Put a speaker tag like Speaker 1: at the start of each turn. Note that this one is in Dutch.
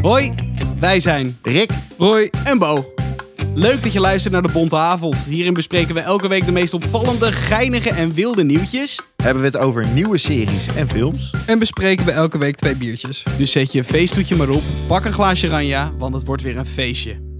Speaker 1: Hoi, wij zijn
Speaker 2: Rick,
Speaker 1: Roy en Bo. Leuk dat je luistert naar de Bonte Avond. Hierin bespreken we elke week de meest opvallende, geinige en wilde nieuwtjes.
Speaker 2: hebben we het over nieuwe series en films?
Speaker 3: En bespreken we elke week twee biertjes.
Speaker 1: Dus zet je feesthoedje maar op, pak een glaasje ranja, want het wordt weer een feestje.